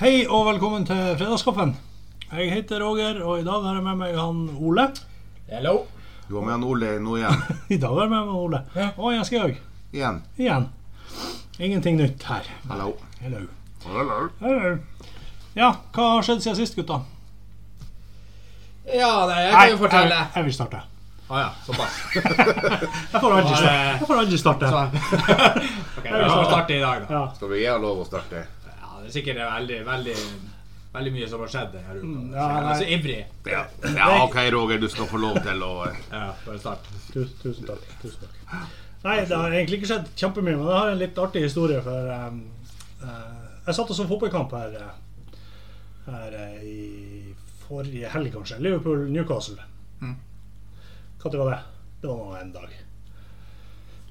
Hei og velkommen til Fredagskaffen. Jeg heter Roger, og i dag har jeg med meg han Ole. Hello. Du har med han Ole nå igjen. I dag har jeg med meg Ole. Ja. Og Jens Georg. Igjen. Igjen. Ingenting nytt her. Hallo. Hello. Hallo. Hello. Ja, hva har skjedd siden sist, gutta? Ja, nei, jeg kan jo jeg, fortelle. jeg vil starte. Å ja, såpass. Jeg får aldri starte. Jeg får aldri starte. Så- ok, vi får starte i dag, da. Ja. Skal vi gi han lov å starte? Ja, det er sikkert veldig, veldig veldig mye som har skjedd denne uka. Mm, ja, Så jeg nei. er så Altså, ivrig. Ja. OK, Roger. Du skal få lov til å eh, Ja, bare start. Tusen, tusen takk. Tusen takk. Nei, det har egentlig ikke skjedd kjempemye, men jeg har en litt artig historie. For um, eh, jeg satt og så fotballkamp her, eh, her eh, i forrige helg, kanskje. Liverpool-Newcastle. Hva Når var det? Det var nå en dag.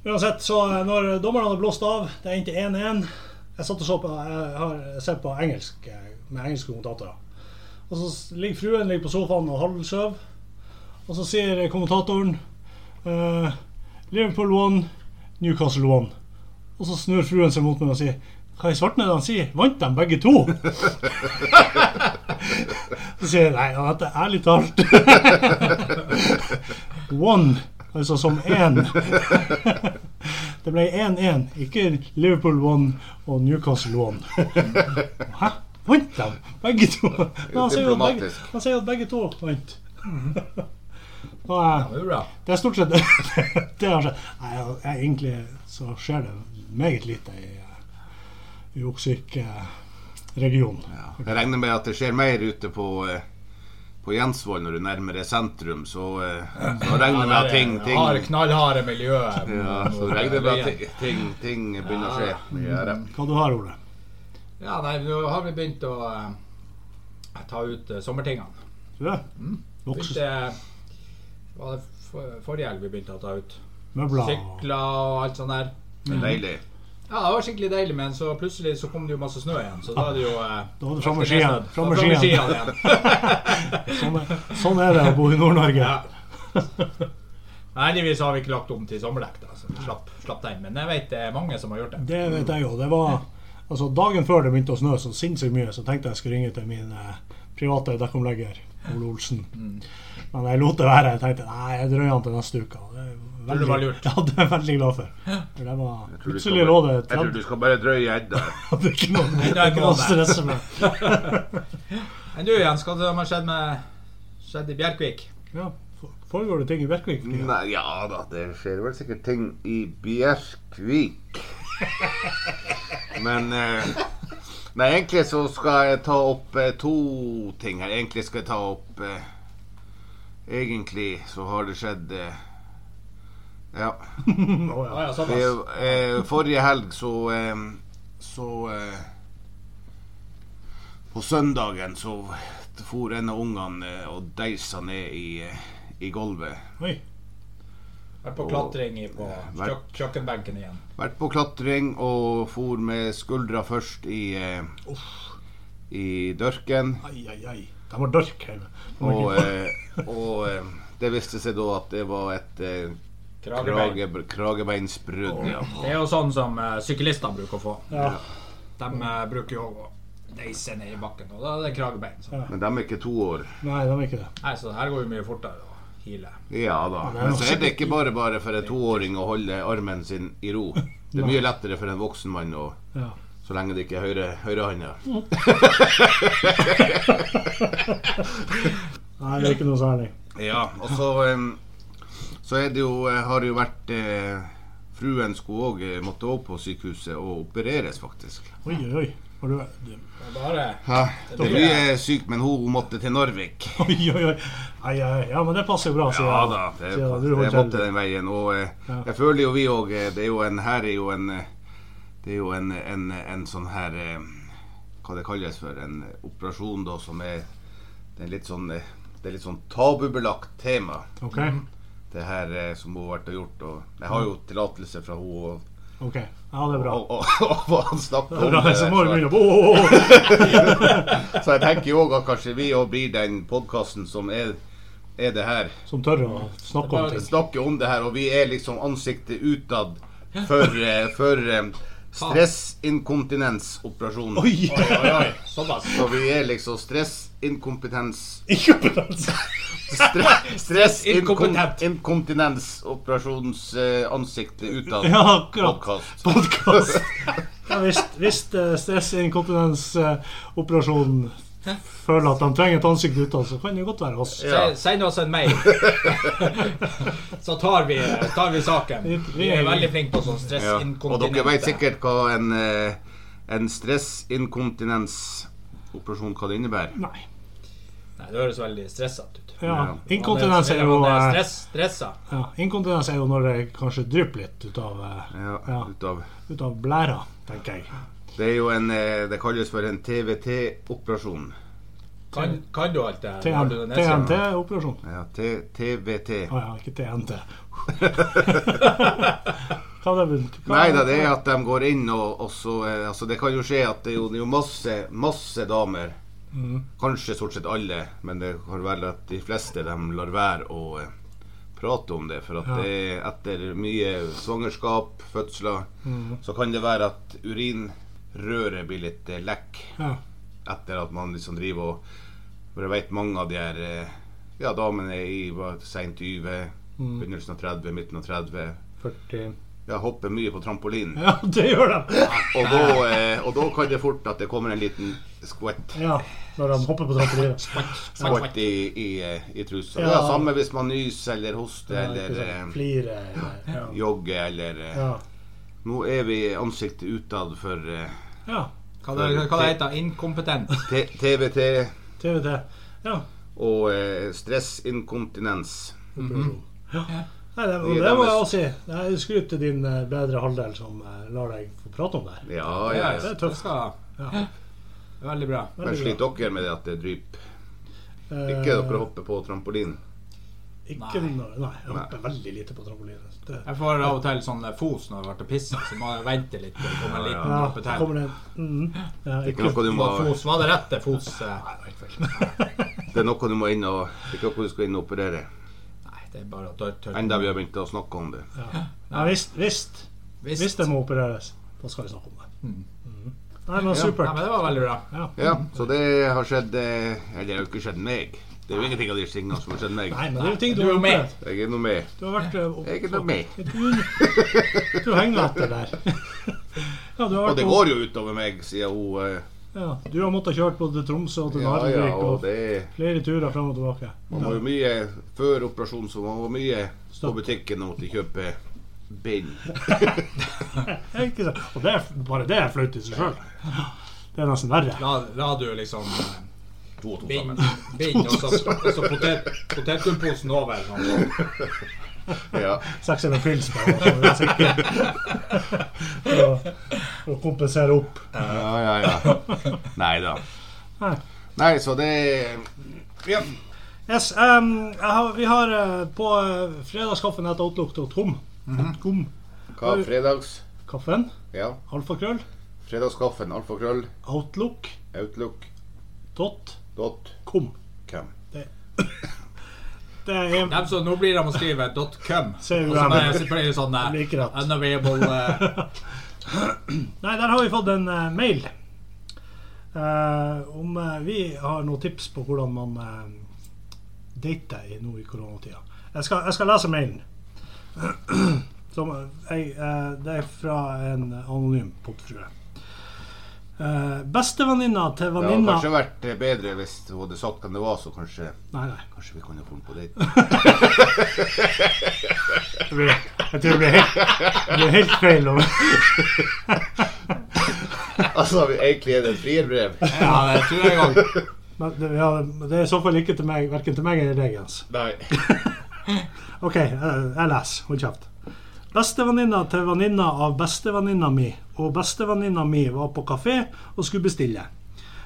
Uansett, så eh, når dommerne hadde blåst av, det endte 1-1 Jeg satt og så på, jeg har sett på engelsk eh, med engelske kommentatorer. Og så s- ligger fruen ligger på sofaen og halvsøv, og så sier kommentatoren Eh, Liverpool won, Newcastle won. Og så snur fruen seg mot meg og sier Hva i svarten er det han sier? Vant de begge to? så sier jeg nei, han heter ærlig talt One, altså som én. det ble 1-1. Ikke Liverpool won og Newcastle won. Hæ? Vant de begge to? Men han sier jo at begge, Diplomatisk. han sier jo at begge to vant. Da er, Det er bra. det er stort sett det har skjedd. Nei, jeg, jeg, egentlig så skjer det meget lite i, eh, i Oksvik-regionen. ja. Jeg regner med at det skjer mer ute på eh, på Jensvoll når du nærmer deg sentrum, så, eh, så regner jeg med at ting, ting Har knallharde miljøet. ja, så regner jeg med at ting, ting, ting begynner å skje. Ja, det. Hva du har Ole? Ja, nei, nå har vi begynt å eh, ta ut eh, sommertingene. Du det? Mm. Vokses Begynte, var det for- forrige helg vi begynte å ta ut? møbler og Sykler og alt sånt der. Det er deilig. Ja, det var skikkelig deilig, men så plutselig så kom det jo masse snø igjen. Så da er det jo eh, Da var det fram med nesten- skiene. Fram med fram skiene. med skiene igjen. Sånn, er- sånn er det å bo i Nord-Norge. Ja. Nei, Heldigvis har vi ikke lagt om til sommerdekk, da, så vi slapp, slapp den. Men jeg vet det er mange som har gjort det. Det vet jeg jo. Det var altså Dagen før det begynte å snø så sinnssykt mye, så tenkte jeg skulle ringe til min eh, private dekkomlegger, Ole Olsen. Mm. Men jeg lot det være. Jeg tenkte nei, jeg drøyer den til neste uke. Det er Tror du det var lurt? Ja, det er jeg veldig glad for. For det var, Jeg tror du skal plutselig lå bare- det Jeg tror du skal bare drøye edda. Det er ikke noe, det er ikke noe å stresse med. Men du Jens, hva som har skjedd, med, skjedd i Bjerkvik? Ja, for- Foregår det ting i Bjerkvik? for tiden? Nei, ja da, det skjer vel sikkert ting i Bjerkvik. Men eh, Nei, egentlig så skal jeg ta opp eh, to ting her. Egentlig skal jeg ta opp eh, Egentlig så har det skjedd eh, Ja. Å, ja. Å ja, Det, såpass. eh, forrige helg så eh, Så eh, På søndagen så for en av ungene eh, og deisa ned i, eh, i gulvet. Oi. Vært på klatring i, på Vært- kjøk, kjøkkenbenken igjen. Vært på klatring og for med skuldra først i, eh, i dørken. Ai, ai, ai. De var dørk hele. De var Og, ikke- eh, og eh, det viste seg da at det var et eh, Kragerberg. krage, kragebeinsbrudd. Ja. Det er jo sånn som eh, syklister bruker å få. Ja. De eh, bruker jo å deise ned i bakken, og da er det kragebein. Så. Men de er ikke to år. Nei, de var ikke det. Nei, så det her går jo mye fortere å hile. Ja da. Men så er det ikke bare bare for en toåring å holde armen sin i ro. Det er mye lettere for en voksen mann å Ja. så lenge det ikke er høyre, høyrehånda. Nei, det er ikke noe særlig. Ja, og så, em, så er det jo, eh, har det jo vært eh, Fruen skulle òg måtte opp på sykehuset og opereres, faktisk. Oi, oi, oi. Har du, du Det er bare Det er mye syk, men hun måtte til Narvik. Oi, oi, oi. Ai, ai, ja, men det passer jo bra, sier Ja jeg. da, det, Sier jeg. Du det holder måtte til. den veien. Og eh, Ja. jeg føler jo vi òg Det er jo en Her er jo en eh, Det er jo en, en, en sånn her eh, Hva det kalles for? En operasjon da som er Det er litt sånn eh, Det er litt sånn tabubelagt tema, Ok, det her eh, som hun har vært og gjort. Og jeg har jo tillatelse fra hun og ok. Ja, det er Mm. bra. og, og, og hva han snakker om. Bra, det så der, må du så, begynne å Åh, åh, åh. jeg, så jeg tenker jo òg at kanskje vi òg blir den podkasten som er, er det her. Som tør å snakke om ting. snakker om det her, og vi er liksom ansiktet utad for, eh, for eh, Stressinkontinensoperasjon. Oi! Oi, oi, oi. Såpass. Så vi er liksom stressinkompetens Inkompetanse! stre- Inkompetent. Stressinkontinensoperasjonsansiktet utad. Ja, akkurat. Podcast. Podkast. Ja, hvis hvis eh, stressinkontinensoperasjonen føler at de trenger et ansikt utad, så kan det godt være oss. Ja. Se- Send oss en mail, så tar vi, tar vi saken. Vi er veldig flinke på sånn Ja. Og stressinkontinent. dere vet sikkert hva en, eh, en stressinkontinensoperasjon hva det innebærer. Nei. Nei, det høres veldig stressete ut. Ja, Ja. inkontinens er jo Han er eh, stress, stressa. ja, Inkontinens er jo når det kanskje drypper litt ut av, eh, Ja, Ja. utav. ut av blæra, tenker jeg. Det er jo en eh, Det kalles for en TVT-operasjon. Kan, kan du alt det her? Har du det ned- TNT-operasjon. Ja, T TVT. Å ja, ikke TNT. Hva det betyr hva- Nei da, det er at de går inn og, og så eh, Altså, det kan jo skje at det er jo, det er jo masse, masse damer. Mm, Kanskje stort sett alle, men det kan være at de fleste de lar være å eh, prate om det. For at Ja. det, er etter mye svangerskap, fødsler, mm. så kan det være at urinrøret blir litt eh, lekk Ja, etter at man liksom driver og For jeg vet mange av de her eh, ja, damene i seint 20, Mm. begynnelsen av 30, midten av 30 40 ja, hopper mye på trampolinen. Ja, det gjør de! Og da, eh, og da kan det fort at det kommer en liten skvett, Ja, når de hopper på trampoline. skvett i, i, eh, i trusa. Ja. Ja. samme hvis man nyser eller hoster Ja, ikke eller sant. eh, Flire eller- ja. jogger eller eh. Ja. Nå er vi ansiktet utad for eh, ja. Hva det, hva det heter Inkompetent. T- TVT TVT. Ja. og eh, stressinkontinens. Mm-hmm. Nei, det, og Vi er det må deres- jeg også si. Det er Skryt til din eh, bedre halvdel som eh, lar deg få prate om det. her. Ja, ja. Ja, det ja. er tøft. det Skal, Ja. veldig bra. Men veldig sliter dere med det at det dryper? bra. Ikke Eh, dere hopper på trampolinen? Ikke Nei. når, nei, jeg hopper veldig lite på trampoline. Det, Jeg får av og til sånn fos når jeg har vært og pissa, så må jeg vente litt. til Det kommer en liten ja, dråpe så til. kommer det en mm, ja, Det er ikke noe du må, Var Fos, var det rette fos? eh? det er noe du må inn og Det er ikke noe du skal inn og operere. Nei, det er bare å tørre. Tør. Enda vi har begynt å snakke om det. Ja, visst, visst, Visst. hvis det må opereres, da skal vi snakke om det. Mhm. Nei, men Nei, men supert. det var veldig bra. Ja. Ja, så det har skjedd eh, Eller det har jo ikke skjedd meg. Det er jo ingenting av de tingene som har skjedd meg. Nei, men det er jo ting du Du er har jo med. opplevd. Jeg er nå med. Du har vært eh, opp- Jeg er nå med. Du, du henger etter der. Ja, du har, Og vært det på- går jo utover meg, sier hun. eh, ja, du har måttet kjøre både til Tromsø og til Ja, ja, Narvik og og det flere turer frem og tilbake. Man var jo mye før operasjonen, så man var mye på butikken og måtte kjøpe bind. Ja, Ikke sant? Og det er, f- bare det er flaut i seg sjøl. Det er nesten verre. La, la du liksom eh, To og to bind, sammen. bind og så, og så potet, potetgullposen over. Sånn. Ja. Seks eller pils på og så er jeg sikker. for, å- for å kompensere opp. ja, ja, ja. Nei da. Nei. Nei, så det Ja. Yes, em, jeg har, vi har eh, på eh, fredagskaffen etter outlook.com Mhm. .com. Hva fredags... Kaffen, Ja. alfakrøll, Fredagskaffen, alfakrøll, outlook.com. outlook.com. Det er Dem som, nå blir de å skrive .com. Og så Ser du blir dem? så blir det sånn eh, Det blir ikke rett. Unavailable eh, Nei, der har vi fått en eh, mail. Eh, om eh, vi har noen tips på hvordan man uh, dater i, nå i koronatida. Jeg skal, jeg skal lese mailen. Som, eh, jeg, eh, det er fra en anonym popfrue. Uh, Bestevenninna til Det hadde venninna kanskje vært eh, bedre hvis hun hadde sagt hvem det var, så kanskje Nei, nei. Kanskje vi kan jo få den på date. Det blir, jeg tror det blir helt, det blir helt feil. om- Altså, vi- egentlig er det et frierbrev. Ja, det tror jeg òg. Men det, ja, det er i så fall ikke til meg, verken til meg eller deg, Jens. Nei. OK, eh, jeg leser. Hold kjeft. Bestevenninna til venninna av bestevenninna mi, og bestevenninna mi var på kafé og skulle bestille.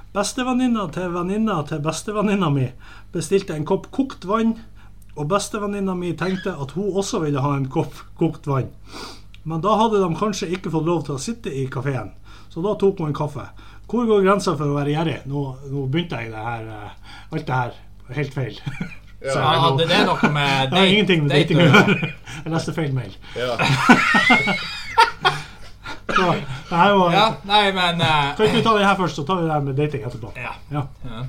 Bestevenninna til venninna til bestevenninna mi bestilte en kopp kokt vann, og bestevenninna mi tenkte at hun også ville ha en kopp kokt vann. Men da hadde de kanskje ikke fått lov til å sitte i kafeen, så da tok hun en kaffe. Hvor går grensa for å være gjerrig? Nå, nå begynte jeg det her, eh, alt det her helt feil. Ja. Så Ja, jeg nå- det er noe med det har ingenting med date dating å å gjøre. gjøre. Jeg leste feil mail. Ja. Så, det her var, Ja, nei, men eh, Kan ikke vi ta det her først, så tar vi det her med dating etterpå? Ja. Ja. ja.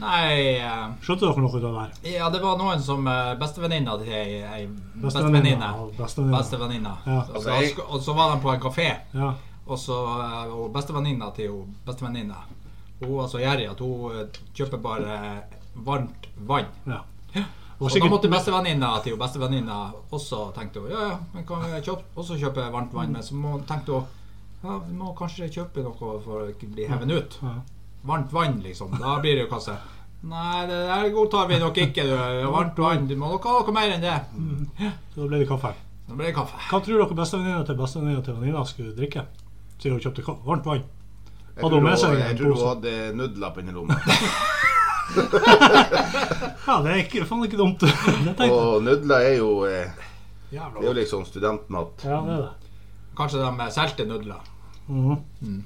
Nei eh, Skjønte dere noe av det her? Ja, det var noen som eh, Bestevenninna til ei, ei bestevenninne. Bestevenninna og bestevenninna. Bestevenninna. Ja. Og så- Og så var de på en kafé. Ja. Og så eh, og bestevenninna til hun bestevenninna Hun var så gjerrig at hun eh, kjøper bare varmt vann. ja. Og Og sikkert- da måtte bestevenninna til hun bestevenninna også tenkte hun, ja, ja, men kan jeg kjøpe, også kjøpe varmt vann. Men så må, tenkte hun ja, vi må kanskje kjøpe noe for å ikke bli hevet ut. Ja. Varmt vann, liksom. Da blir det jo kasse. Nei, det der godtar vi nok ikke. Du. Varmt vann. Du må nok ha noe mer enn det. Mm. Så da ble det kaffe. Da blir det kaffe. Hva tror dere bestevenninna til bestevenninna til venninna skulle drikke? Siden hun kjøpte ka- varmt vann. Jeg Hadde tror hun med hun- seg jeg en tror hun pose? hadde nudler på innerlommet. Ja, det er ikke, faen ikke dumt. Det tenkte jeg. Og nudler er jo, eh, Jævla det er jo godt. liksom studentmat. Ja, det er det. Kanskje de solgte nudler. Mhm. Mm.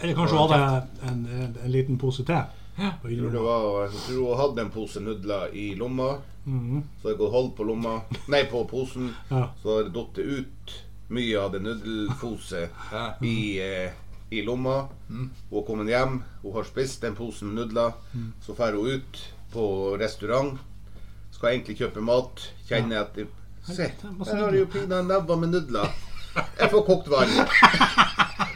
Eller kanskje hun hadde en, en, en liten pose te? Ja. på Jeg tror, det innerlommet. var, jeg tror hun hadde en pose nudler i lomma, Mhm. så jeg kunne holde på lomma Nei, på posen. Ja. Så har det datt ut mye av det nudelfoset Ja. i, eh, i lomma. Hun har kommet hjem, hun har spist den posen nudler. Så drar hun ut på restaurant, skal egentlig kjøpe mat. Kjenner at Se, det er masse der har de jo pinadø nebba med nudler. Jeg får kokt vann.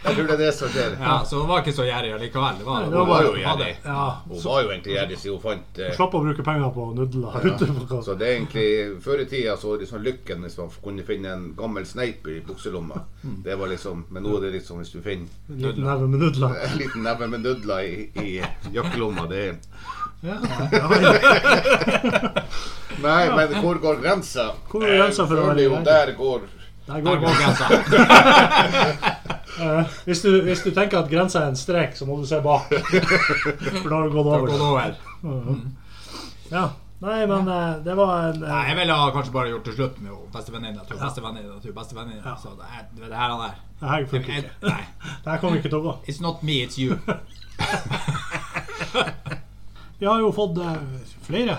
Jeg tror det er det som skjer. Ja, så hun var ikke så gjerrig likevel. Det var, Nei, det Hun var jo hun hadde- gjerrig. Ja, Hun var jo egentlig gjerrig siden hun fant eh, Slapp å bruke penger på nudler ute på Så kassa. Altså, det er egentlig Før i tida så var det sånn lykken hvis man kunne finne en gammel sneip i bukselomma. Mm. Det var liksom Men nå er det liksom hvis du finner En liten neve med nudler. en liten neve med nudler i, i jakkelomma, det er Ja. Ja, vel. Nei, men hvor går grensa? Hvor går grensa for å være Føler jo gjerrig? der går Der Der går går grensa. grensa. Eh, Hvis, du, hvis du tenker at grensa er en strek, så må du se bak. For da har du gått Da går over. det over. Mhm. Ja. Nei, men eh, det var en Nei, eh, jeg ville ha kanskje bare gjort det slutt med henne, bestevenninna til bestevenninna til Ja. bestevenninna. Så det er det er det her han er. Det her funker Jeg- ikke. Nei. Det her kommer ikke til å gå. It's not me, it's you. Vi har jo fått eh, flere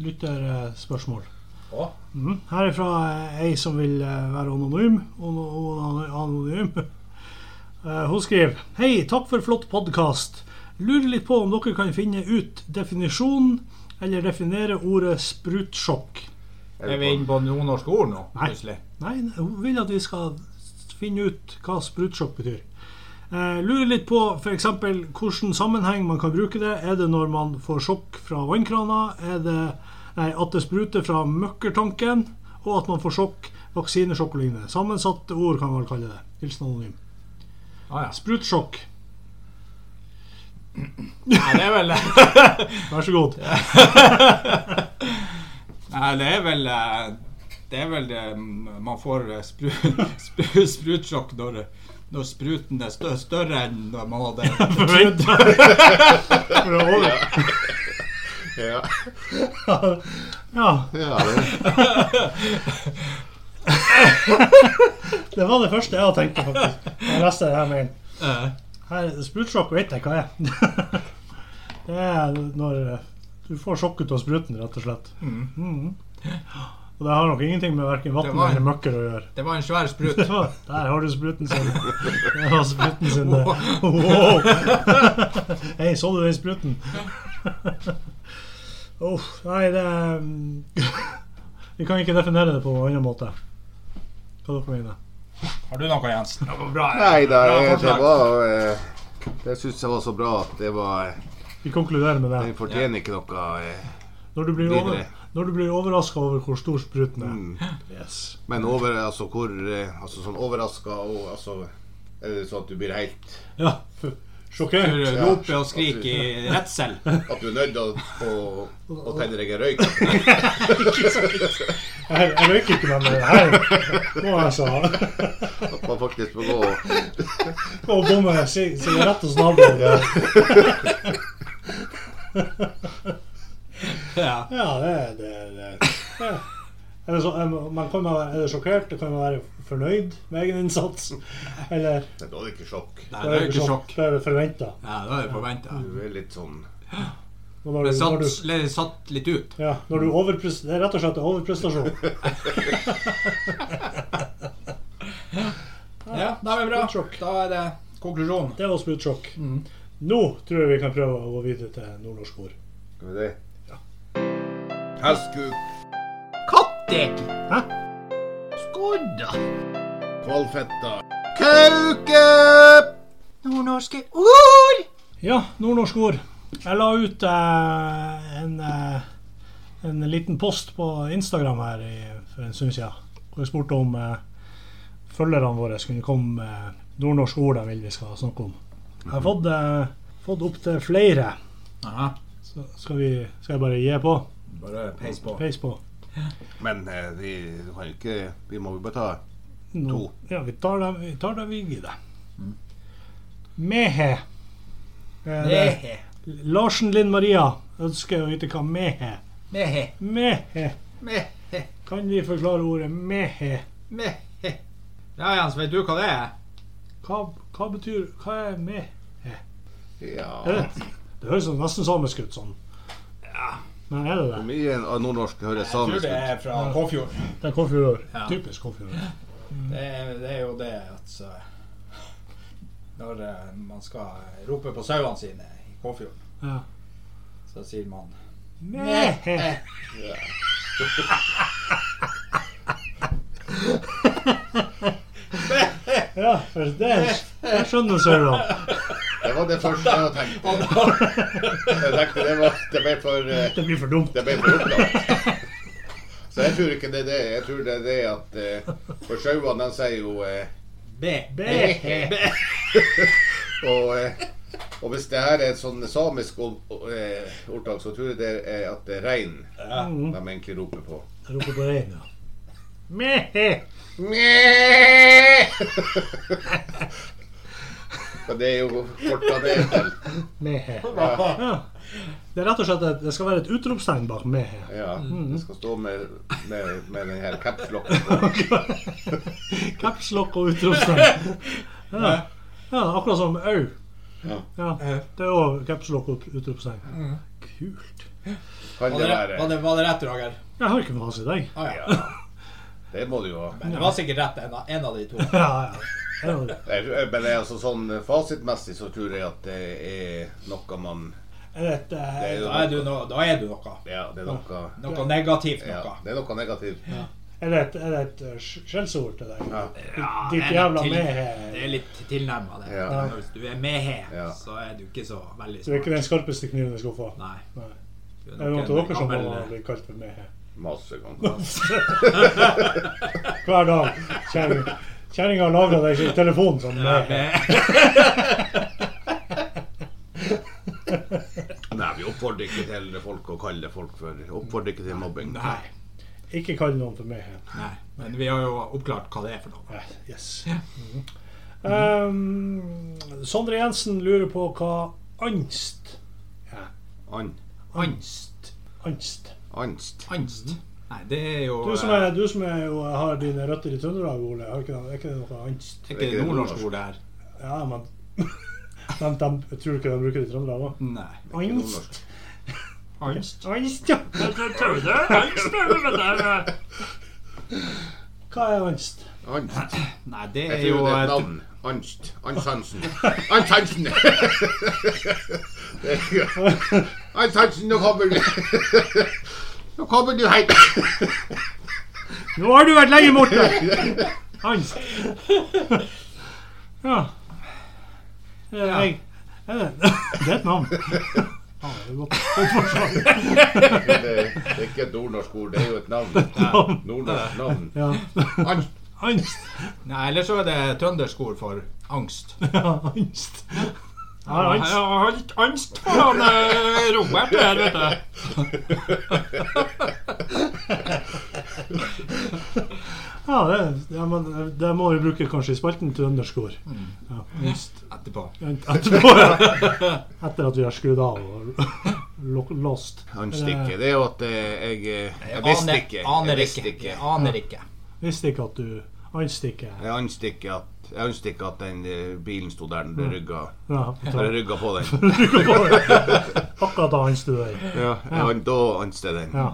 lytterspørsmål. Å? Mhm. Her er fra eh, ei som vil eh, være anonym. Ono- ono- anonym. Eh, Hun skriver Hei, takk for flott podkast. Lurer litt på om dere kan finne ut definisjonen eller definere ordet sprutsjokk. Er vi inne på nordnorsk ord nå, Nei. plutselig? Nei, hun vil at vi skal finne ut hva sprutsjokk betyr. Eh, lurer litt på f.eks. hvilken sammenheng man kan bruke det. Er det når man får sjokk fra vannkrana? Er det nei, at det spruter fra møkkertanken? Og at man får sjokk, vaksinesjokk og lignende. Sammensatte ord kan man vel kalle det. Hilsen anonym. Ah, ja. Sprutsjokk, Nei, det er vel vær så god. Nei, det er vel eh, Det er vel det mm, man får eh, spru, spru, sprutsjokk når, når spruten er stø, større enn når man hadde Forventa. For å over. Ja, Ja, ja det, det var det første jeg hadde tenkt på, faktisk. Jeg leste det her med en eh, Her, sprutsjokk vet jeg hva er. det er når eh, du får sjokk ut av spruten, rett og slett. Mhm. Og det har nok ingenting med verken vann Mm. Det var- eller møkker å gjøre. Det var en svær sprut. Det var- Der har du spruten sin. Der har spruten sin det. Wow. Wow. Hei, så du den spruten? Uff, nei, det er- Vi kan ikke definere det på noen annen måte. Hva dere mener Har du noe, Jens? Det var bra. nei, det, Bra er- det forslag. var eh, Det syns jeg var så bra at det var Vi konkluderer med Den det. fortjener ikke noe eh, Når du blir, over, Videre. når du blir overraska over hvor stor spruten er. mm. Yes. Men over, altså hvor eh, Altså sånn overraska og altså Er det sånn at du blir helt Ja, f- Du sjokkert. roper og skriker i redsel. At du er nødt til å, å, å tenne deg en røyk? Jeg, jeg røyker ikke med det her. Nå altså. At man faktisk må gå og Gå og bomme si- sigarett hos naboen. Ja, Ja. det er det. er- det er- ja. Er det, så, er man- man kan være, er det sjokkert? Det kan man være fornøyd med egen innsats? Eller Nei, Da er det ikke sjokk. Nei, det er jo ikke sjokk. Det sånn- er forventa. Ja, da er det forventa. Du er litt sånn Når, Det du- Mm. når, satt, du- det satt litt ut. ja, når du overpres- det er rett og slett overprestasjon. Ja. Nei, men bra. Sprutsjokk. Da er det konklusjonen. Det var sprutsjokk. Mm. Nå tror jeg vi kan prøve å gå videre til nordnorsk ord. Skal vi det? Hestkuk, Kattek. Hæ? Skodda. kvalfetta, kauke! Nordnorske ord. Ja, nordnorsk ord. Jeg la ut eh, en, eh, en liten post på Instagram her i, for en stund siden. Hvor jeg spurte om eh, følgerne våre skulle komme med nordnorske ord de vil vi skal snakke om. Jeg har fått, eh, fått opp til flere. Aha. Så skal, vi, skal jeg bare gi på? Bare peis på. Peis på. Men eh, vi du kan jo ikke Vi må jo bare ta Nå- To. Ja, vi tar det vi, tar det vi gidder. Mehe. Eh, det- Mehe. Larsen Linn Maria ønsker å vite hva mehe Mehe. Mehe. Mehe. Kan vi forklare ordet mehe? Mehe. Ja, Jens, vet du hva det er? Hva, hva betyr Hva er mehe? Ja Er det- Det høres sånn nesten samisk ut sånn. Men er det det? Mye av nordnorsk høres Jeg tror samisk det ut. er fra Kåfjord. Det er konfjord. Ja. Typisk konfjord. Mm. Det, er- det er jo det at så, Når eh, man skal rope på sauene sine i Kåfjord, Ja. så sier man Mehe. Ja, for det Jeg skjønner søren. Det var det første jeg tenkte. Jeg tenkte det, var, det ble for eh, Det blir for dumt. Det ble for opplagt. Så jeg tror ikke det er det. Jeg tror det er det at eh, For sauene, de sier jo eh, Be. Mehe. og, eh, og hvis det her er et sånn samisk ord- eh, ordtak, så tror jeg det er at det er rein de egentlig roper på. Mm. Jeg roper på rein, ja. Mehe. Og det er jo korta ned til. Mehe. Ja. Det er rett og slett at det skal være et utropstegn bak mehe. Ja, det skal stå med, med, med den her capslocken på. Capslock og utropstegn. Ja. ja, akkurat som au. Ja. Ja, det er òg capslock og utropstegn. Kult. Kan Var det det, var, være det, var det rett, Roger? Jeg har ikke noe fasit, jeg. Ah, ja. Ja, det må du jo ha. Men det var sikkert rett, en av, en av de to. Ja, ja. Det er det. Jeg- jeg- Men altså, sånn fasitmessig så tror jeg at det er noe man Er det et, eh, Det er jo Da er du, noe, no, da er du noe. ja, det er noe, Noe negativt ja, noe. det er noe negativt. er det et, er det et eh, sk- skjellsord til deg? Ja. Ditt- det Ditt er jævla litt til- Det mehe. er litt tilnærma det. Ja. Hvis du er mehe, Ja. så er du ikke så veldig Du er smart. ikke den skarpeste kniven i skuffa? Nei. Nei. Du Er det noen av nok dere en som har gammel- eh, blitt kalt for mehe? Masse ganger. Hver dag. Kjerring- Kjerringa har lagra deg sin telefon som eh, mehe. Nei, vi oppfordrer ikke til folk å kalle folk for Oppfordrer ikke til mobbing. Nei. Ikke kall noen for mehe. Nei. Men vi har jo oppklart hva det er for noe. Eh, Yes. Mhm. Um, Sondre Jensen lurer på hva angst An, Angst. Angst. angst. Angst. Mm. Nei, det er jo Du som, er, du som er jo, har dine røtter i Trøndelag, Ole, har ikke, er ikke det noe angst? Er ikke det nordnorsk ord det her? Ja, men de, de, Jeg tror ikke de bruker det i Trøndelag òg. Nei. Angst. Angst. Angst, ja. Hva er angst? Angst. Nei, det Jeg er tror jo det er et et- navn. Angst. Angst Hansen. Angst Hansen! Det er jo- Angst Hansen, nå kommer du Nå kommer du hit! Nå har du vært lenge borte! Angst. Ja. Det er, jeg, er det, det er et navn. Ja, det er godt. Godt forslag. Det det er ikke et nordnorsk ord, det er jo et navn. Nordnorsk navn. Ja. Angst. Angst. Nei, eller så er det trøndersk ord for angst. Ja, angst. Ja, angst. Jeg har litt angst for han eh, Robert her, vet du. Ja, det, ja, men eh, det må vi bruke kanskje i spalten til underskår. Ja, angst. Etterpå. Etterpå, ja. Etter at vi har skrudd av og lo- låst. Angst ikke. Det er jo at eh, jeg, eh, jeg visste Aner- ikke. Aner Jeg visste ikke. ikke. Jeg Aner ikke. Visste ikke at du Angst ikke. Jeg angst ikke at, jeg angst ikke at den eh, bilen sto der den ble rygga, Ja, når jeg rygga på den. akkurat da angst du deg. Ja, jeg- Da angst jeg den. Ja.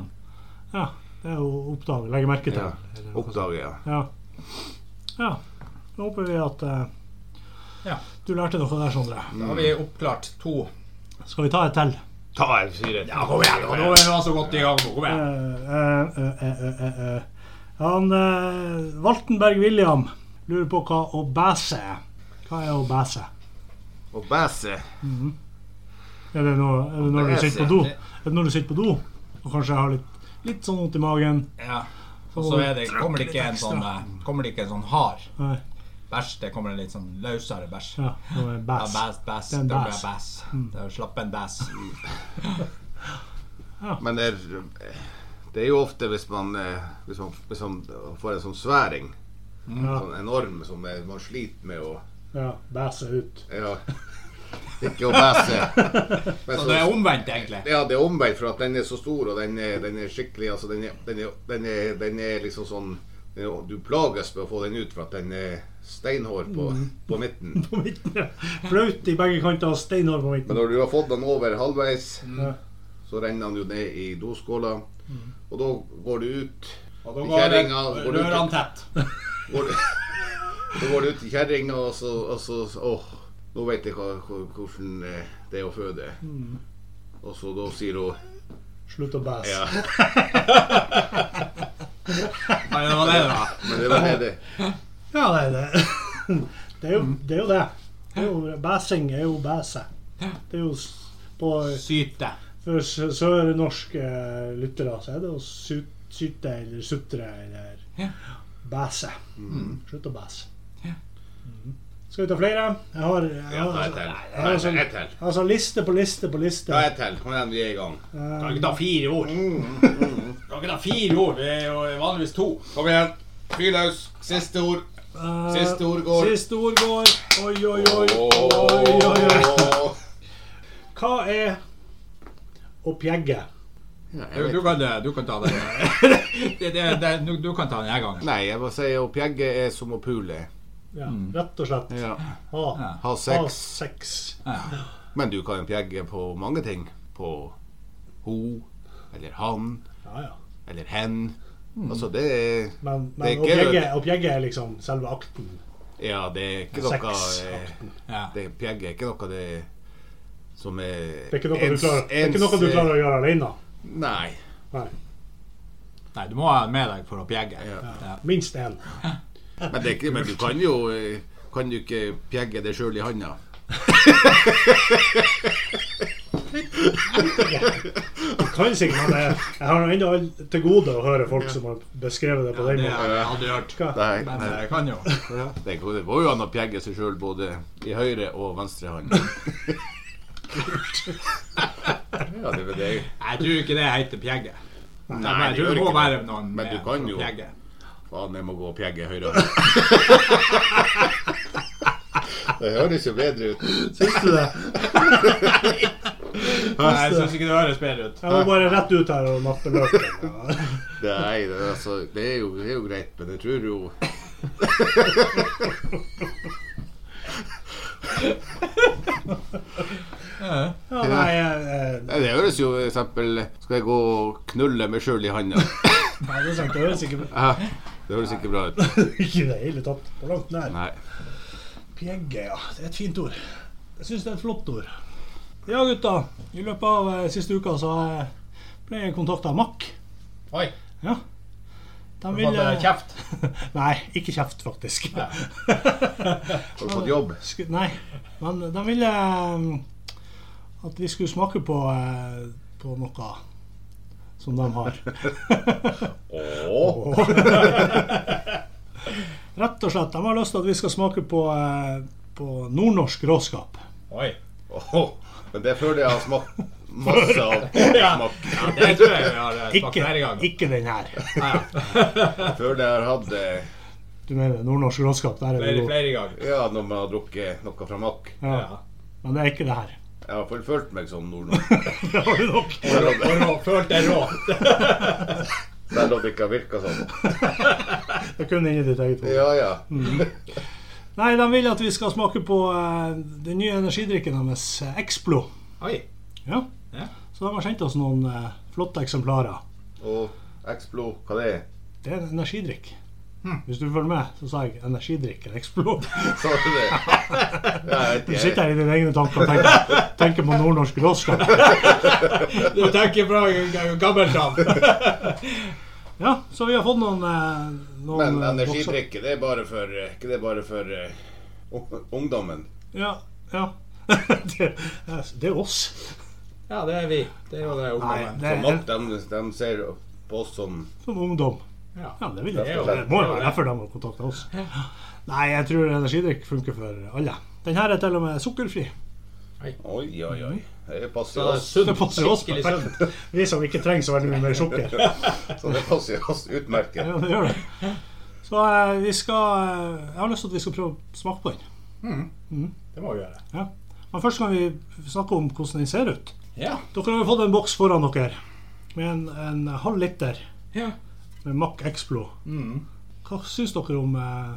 ja. Det er jo oppdage. Legge merke til. Ja. Oppdager, ja. Ja. ja. Da håper vi at eh, Ja. du lærte noe der, Sondre. Da har vi oppklart to. Skal vi ta et til? Ta en syre. Ja, kom igjen! Nå er vi altså godt i gang. nå, Kom Eh, igjen. eh, eh, eh, eh, eh. Han eh, Waltenberg William lurer på hva å bæse er. Hva er å bæse? Og bæse. Er det noe, er det når du Bæse, sitter på do? det- Er det når du sitter på do og kanskje har litt, litt sånn vondt i magen? Ja. Og så er det, kommer det ikke en sånn eh, Kommer det ikke en sånn hard Nei, bæsj. Det kommer en litt sånn løsere bæsj. ja, det var en Ja, bæs. bæs, bæs. Det er Det en blir bæs. bæs. Det er Slapp en bæs. Men det er, det er jo ofte hvis man, eh, hvis man, hvis man får en sånn sværing, Ja, sånn enorm, som er- man sliter med å ja, bæse ut. ja, Ikke å bæse. Men Så det er omvendt, egentlig. Ja, det er omvendt, for at den er så stor, og den er, den er skikkelig altså den er, den, er, den, er, den er liksom sånn den er- Du plages med å få den ut, for at den er steinhår på, på midten. På midten, ja. Flaut i begge kanter og steinhår på Men midten. når du har fått den over halvveis, Ja. så renner den jo ned i doskåla, og da går du ut Mm. Og da i går det- kjerringa, går du ut- rørene tett. går du, Da går du ut i kjerringa, og så, og så Åh, nå vet jeg hva, hva- hvordan eh, det er å føde. Mm. Og så da sier hun Slutt å bæse. Ja. Nei, det var det det var. Men det var det det Ja, nei, det, det, er jo, Mm. det er jo det. det er jo, bæsing er jo bæse. Det er jo s- på, Syte. For sø- sørnorske eh, lyttere så er det å su- syte eller sutre eller Ja. bæse. Mm. Mm. Slutt å bæse. Ja. Mhm. Skal vi ta flere? Jeg har, jeg Ja, har, ta altså- et til. jeg har Ta sånn- et til. jeg har sånn liste på liste på liste. Ta et til. Kom igjen, vi er i gang. Kan ikke ta fire ord. Kan ikke ta fire ord. Det er jo vanligvis to. Kom igjen. Fyr løs. Siste ord. Eh, Siste ord går. Siste ord går. Oi, oi, oi. Åh. oi, oi, oi. Hva er å pjegge? Du, du, kan, eh, du kan ta den. Det, det, det, du, du kan ta den jeg gangen. Nei, jeg må si å pjegge er som å pule. Ja, Mm. rett og slett. Ha, Ja. Ha ha sex. sex. Men du kan pjegge på mange ting. På ho, eller han, Ja, ja. eller hen. Mm. Altså, det er Men, Det men er ikke- oppjegget, oppjegget er liksom selve akten. Ja, det er ikke noe eh, Sexakten. Ja. Det pjegge er ikke noe det som er Det er ikke noe, du, klarer, det er ikke eh, noe du klarer å gjøre alene. Nei. Nei. Nei, du må ha den med deg for å pjegge. Ja. Ja. Minst én. Men, det er ikke, men du kan jo eh, Kan du ikke pjegge deg sjøl i handa? Jeg Kan sikkert, men jeg, jeg har nå ennå all- til gode å høre folk som har beskrevet det på den Det måten. har eh, jeg aldri hørt. Hva? Nei. Men nei. jeg kan jo. Ja, Det går det går jo an å pjegge seg sjøl både i høyre og venstre hånd. ja, det, det, Jeg tror ikke det heter pjegge. nei, Men det jeg tror gjør det må ikke være det. noen Men du med kan for å jo pjegge. Faen, jeg må gå og pjegge høyre hånd. Det høres jo bedre ut. Syns du det? Nei, jeg syns ikke det høres bedre ut. Jeg må bare rett ut her og nappe løken. Ja. Nei, det, er altså, det, er jo, det er jo greit, men jeg tror jo Ja, nei, eh, jeg- jeg- Nei, Det høres jo for eksempel Skal jeg gå og knulle meg sjøl i handa? nei, det er sant. Det høres ikke, Hæ? Det høres ikke bra ut. ikke i det hele tatt på langt nær. Nei. Pjegge, ja. Det er et fint ord. Jeg syns det er et flott ord. Ja, gutta. I løpet av eh, siste uka så eh, ble jeg kontakta av Mack. Oi, Ja. De du fått eh, ville kjeft. Nei, ikke kjeft, faktisk. Har du fått jobb? Sku- Nei. Men de ville eh, at vi skulle smake på, eh, på noe som de har. Åh. Rett og slett. De har lyst til at vi skal smake på, eh, på nordnorsk råskap. Oi. Åh. Men det føler jeg har smakt masse av. Ja. ja, det tror jeg vi har eh, smakt Ikke, flere ganger. ikke den her. Ja, ja. Før jeg har hatt eh, Du mener nordnorsk råskap? Der er vi Flere, gode. flere ganger. Ja, når man har drukket noe fra Mack. Ja. Ja. Men det er ikke det her. Jeg har iallfall følt meg sånn som nordnorsk. Det har du nok. Og rå- og rå- Følt deg rå. Selv om det ikke har virka sånn. Det er kun inni ditt eget hode. Ja, ja. Nei, de vil at vi skal smake på eh, den nye energidrikken deres, eh, Explo. Oi. Ja. Ja. Så de har sendt oss noen eh, flotte eksemplarer. Og Explo, hva det er? Det er en energidrikk. Hvis du følger med, så sa jeg energidrikken Explode. Så er det Ja, jeg vet Du ikke. sitter her i dine egne tanker og tenker, tenker på nordnorsk råskap. Du tenker bra gammelt av. Ja, så vi har fått noen, eh, noen Men eh, bokser. energidrikke, det er bare for eh, Ikke det er bare for eh, ung- ungdommen. Ja, ja. det, det er oss. Ja, det er vi. Det er jo det Nei, eh. ungdommen. det For er nok, de, de ser på oss som som ungdom. Ja. Ja, det vil Det jeg er tro. jo- Det må jo det er være jo derfor de har kontakta oss. Nei, jeg tror energidrikk funker for alle. Den her er til og med sukkerfri. Oi, oi, oi. Det Så passer det er oss. sunt. Det passer oss Skikkelig perfekt. Vi som ikke trenger så veldig mye mer sukker. Så det passer oss utmerket. Ja, det gjør det. Så eh, vi skal eh, Jeg har lyst til at vi skal prøve å smake på den. Det må vi gjøre. Ja. Men først kan vi snakke om hvordan den ser ut. Ja. Dere har jo fått en boks foran dere med en, en halv liter ja. med Mack Explo. Hva syns dere om eh,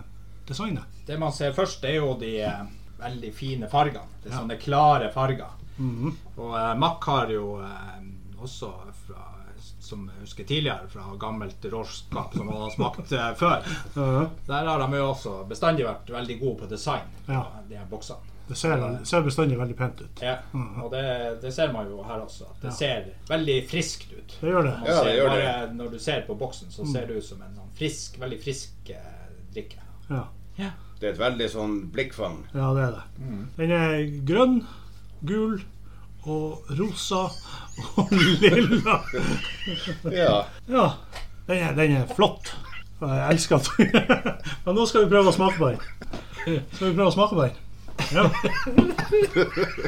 designet? Det man ser først, det er jo de eh, veldig fine fargene. Det er sånne klare farger. Og eh, Mack har jo eh, også fra som jeg husker tidligere, fra gammelt råskap som han har smakt eh, før. Der har de jo også bestandig vært veldig gode på design, Ja. de her boksene. Det ser, ser bestandig veldig pent ut. Ja, Mhm. og det, det ser man jo her også. At det ser veldig friskt ut. Det gjør det. Man Ja, det ser gjør bare, Når du ser på boksen, Mm. så ser det ut som en sånn frisk, veldig frisk eh, drikke. Ja, Det er et veldig sånn blikkfang. ja det er det. Mm. Den er grønn, gul og rosa og lilla. Ja. Ja, den er, den er flott. Og Jeg elsker den. Men nå skal vi prøve å smake på den. Skal vi prøve å smake på den? Ja.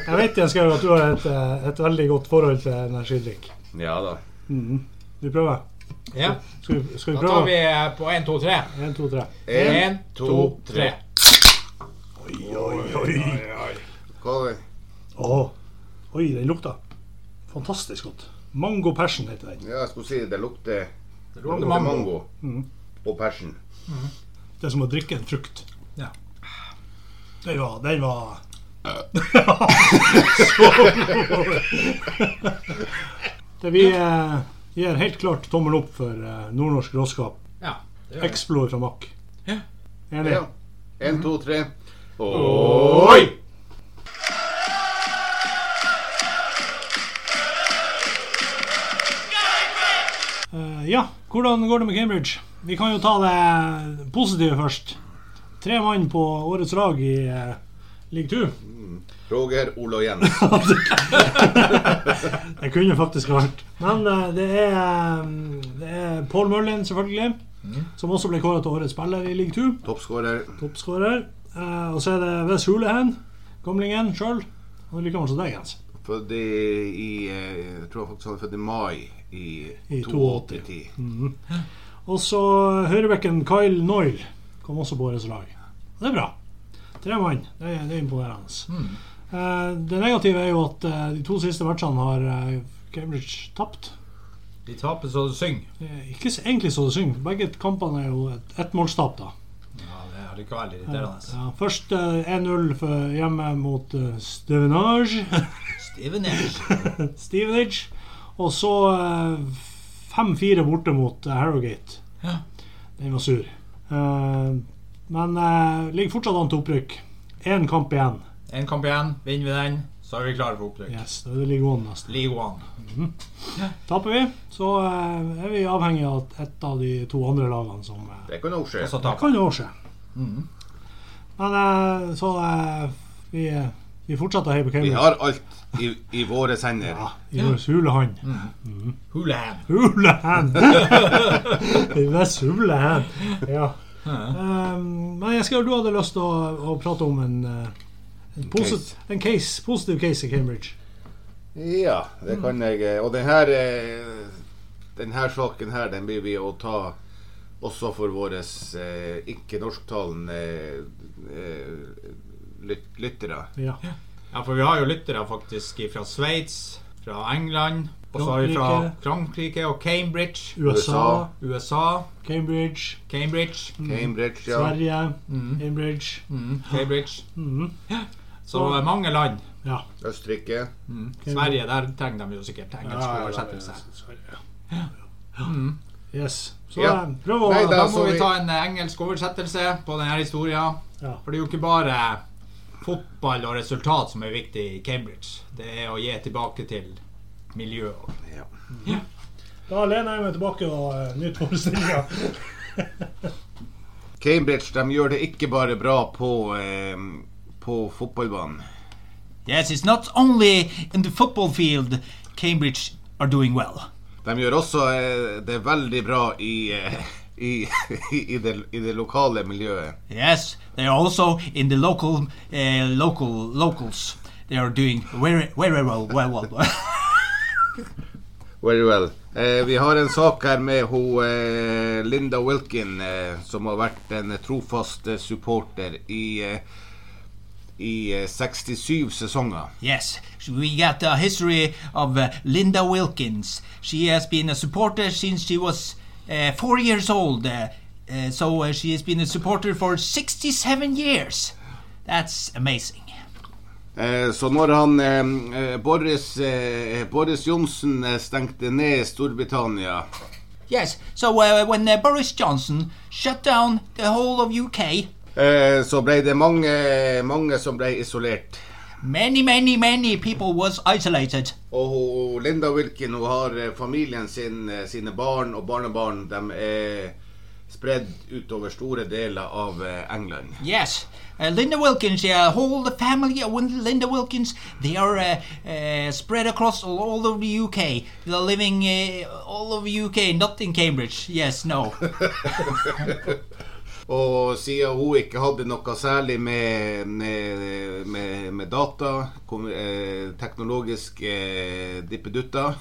Jeg vet Jens Georg, at du har et, eh, et veldig godt forhold til energidrikk. Ja da. Vi prøver. Ja, Skal vi, skal vi Da tar vi prøve? eh, på én, to, tre. En, to, tre. En, Én, to, tre. hva- Åh. Oi, den lukta fantastisk godt. Mango passion heter den. Ja, jeg skulle si det lukter Det det lukter lukter mango. mango. Og persen. Det er som å drikke en frukt. Ja. Den var, den var Så god! Det vi eh, gir helt klart tommel opp for eh, nordnorsk råskap. Ja, det gjør det. Explore fra Mack. Ja. Enig? Ja. En, to, tre. Oi! Eh, ja, hvordan går det med Cambridge? Vi kan jo ta det positive først. Tre mann på årets lag i eh, league two. Roger, Ole og Jens. Det kunne faktisk ha vært. Men eh, det er, eh, det er Paul Merlin, selvfølgelig. Som også ble kåra til årets spiller i league two. Toppskårer. Toppskårer. Eh, og så er det Wes Hulehen, gamlingen sjøl. Og like gammel som deg, Jens. Født i, i eh, Jeg tror faktisk han er født i mai i, I 82. Mm. Og så høyrebekken Kyle Noyle kom også på årets lag. Og Det er bra. Tre mann. Det er, det er imponerende. Eh, det negative er jo at eh, de to siste matchene har eh, Cambridge tapt. De taper så det synger. Eh, ikke s- egentlig så det synger. Begge kampene er jo et ettmålstap, da. Ja, det er likevel irriterende. Ja, først eh, 1-0 for- hjemme mot eh, Stevenage. Steven Nash. Stevenage. Og så eh, 5-4 borte mot eh, Harrogate. Ja. Den var sur. Eh, men eh, ligger fortsatt an til opprykk. Én kamp igjen. Én kamp igjen. Vinner vi den, så er vi klare for opprykk. Yes, det er ligger an nesten. League One. Taper vi, så eh, er vi avhengig av at et av de to andre lagene som eh, Det kan òg skje. Og så Det taper. kan jo også skje. Men eh, så eh, vi, eh, vi fortsetter å heie på Vi Cambridge. har alt i, i våre hender. Ja, Mm. I vår hulehand. Hulahan. Hulehand! I Vest Hulehand. Ja. Um, men jeg skal, du hadde lyst til å, å prate om en, eh, en, posi case. en case, positiv case i Cambridge. Ja, Mm. det kan jeg. eh, Og den her, eh, den her saken her, den blir vi å ta også for våre eh, ikke-norsktalende eh, lyt lyttere. Ja. Ja, for vi har jo lyttere faktisk fra Sveits, fra England, og så har vi fra Frankrike. Frankrike og Cambridge, USA, USA, USA, Cambridge, Cambridge, Mm, Cambridge, ja. mm. Sverige, Cambridge. Mm. Cambridge. Ja, Så mange land. Ja. Østerrike. Cambridge. Sverige, der trenger de jo sikkert Ja, engelsk Mm. ja, ja, oversettelse. ja, Sverige, ja. Yes. Så Ja. eh, prøv å Nei, Da da- må så vi vi- ta en eh, engelsk oversettelse på denne historien. Ja. For det er jo ikke bare fotball og resultat som er viktig i Cambridge. Det er å gi tilbake til miljøet. Ja. Da lener jeg meg tilbake og uh, nyter forestillinga. Cambridge de gjør det ikke bare bra på, eh, på fotballbanen. Yes, it's not only in the football field Cambridge are doing well. De gjør også eh, det veldig bra i, eh, i, i, det, i det lokale miljøet. Yes, they are also in the local, uh, local locals. They are doing very, very well, well, well. Very well. Eh, vi har en sak her med ho, eh, Linda Wilkin, eh, som har vært en trofast eh, supporter i, eh, i eh, 67 sesonger. Yes, sh- we got a history of uh, Linda Wilkins. She has been a supporter since she was uh, four years old. Uh, uh, so uh, she has been a supporter for 67 years. That's amazing. Eh, Så når han eh, eh, Boris, eh, Boris Johnsen eh, stengte ned Storbritannia Yes, so uh, when uh, Boris Johnson shut down the whole of UK, eh, så ble det mange, mange som ble isolert. many, many, many people was isolated. Og hun- Linda Wilkin hun har eh, familien sin, eh, sine barn og barnebarn. De er spredd utover store deler av eh, England. Yes, uh, Linda Wilkins, yeah, whole the family of Win- Linda Wilkins, they are uh, uh, spread across all, all over the UK. They're living uh, all over UK, not in Cambridge. Yes, no. Og siden hun ikke hadde noe særlig med, med, med, med data, kom, eh, teknologisk eh, dippedutter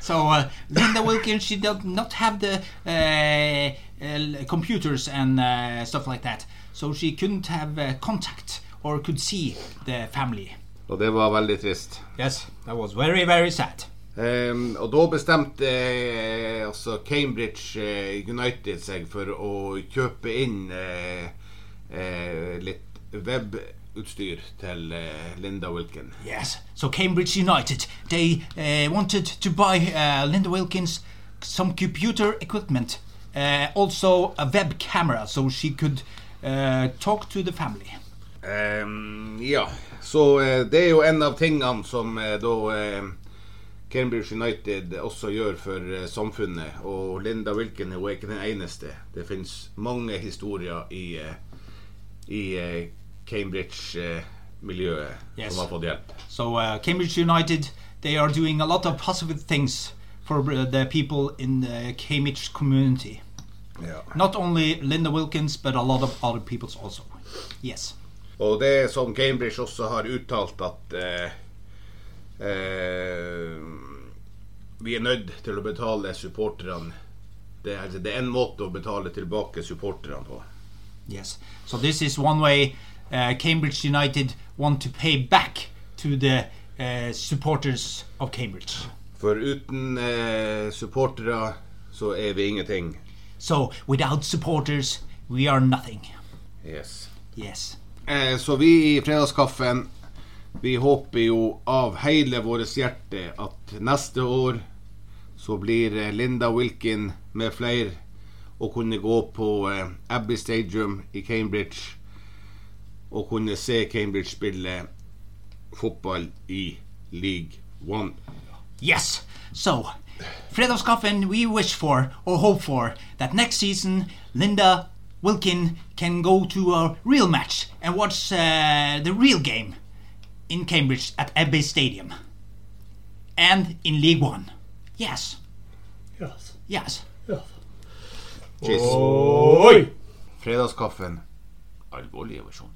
so uh, Linda Wilkins, she does not have the uh, uh, computers and uh, stuff like that. So she couldn't have uh, contact or could see the family. Og det var veldig trist. Yes, that was very, very sad. Ehm, og da bestemte eh, altså Cambridge eh, United seg for å kjøpe inn eh, eh, litt webutstyr til eh, Linda Wilkin. Yes. So Cambridge United, they uh, wanted to buy uh, Linda Wilkins some computer equipment, uh, also a web camera, so she could uh, talk to the family. Ehm, ja, så eh, det er jo en av tingene som eh, da eh, Cambridge United også gjør for eh, samfunnet. Og Linda Wilkin hun er ikke den eneste. Det finnes mange historier i, eh, i eh, Cambridge-miljøet Yes. som har fått hjelp. So uh, Cambridge United, they are doing a lot of positive things for uh, the people in the Cambridge community. Ja. Not only Linda Wilkins, but a lot of other peoples also. Yes. Og det som Cambridge også har uttalt, at eh, eh, vi er nødt til å betale supporterne det, er- altså, det er en måte å betale tilbake supporterne på. Yes. So this is one way uh, Cambridge United want to pay back to the uh, supporters of Cambridge. For uten eh, supportere så er vi ingenting. So without supporters, we are nothing. Yes. Yes. Eh, så vi i Fredagskaffen vi håper jo av hele vårt hjerte at neste år så blir eh, Linda Wilkin med flere å kunne gå på eh, Abbey Stadium i Cambridge og kunne se Cambridge spille fotball i League One. Yes. So, Fredagskaffen, we wish for or hope for that next season Linda Wilkin can go to a real match and watch uh, the real game in Cambridge at Abbey Stadium and in League One. Yes. Yes. Yes. Ja. Cheers. Oi! Fredagskaffen. Alvorlige versjon.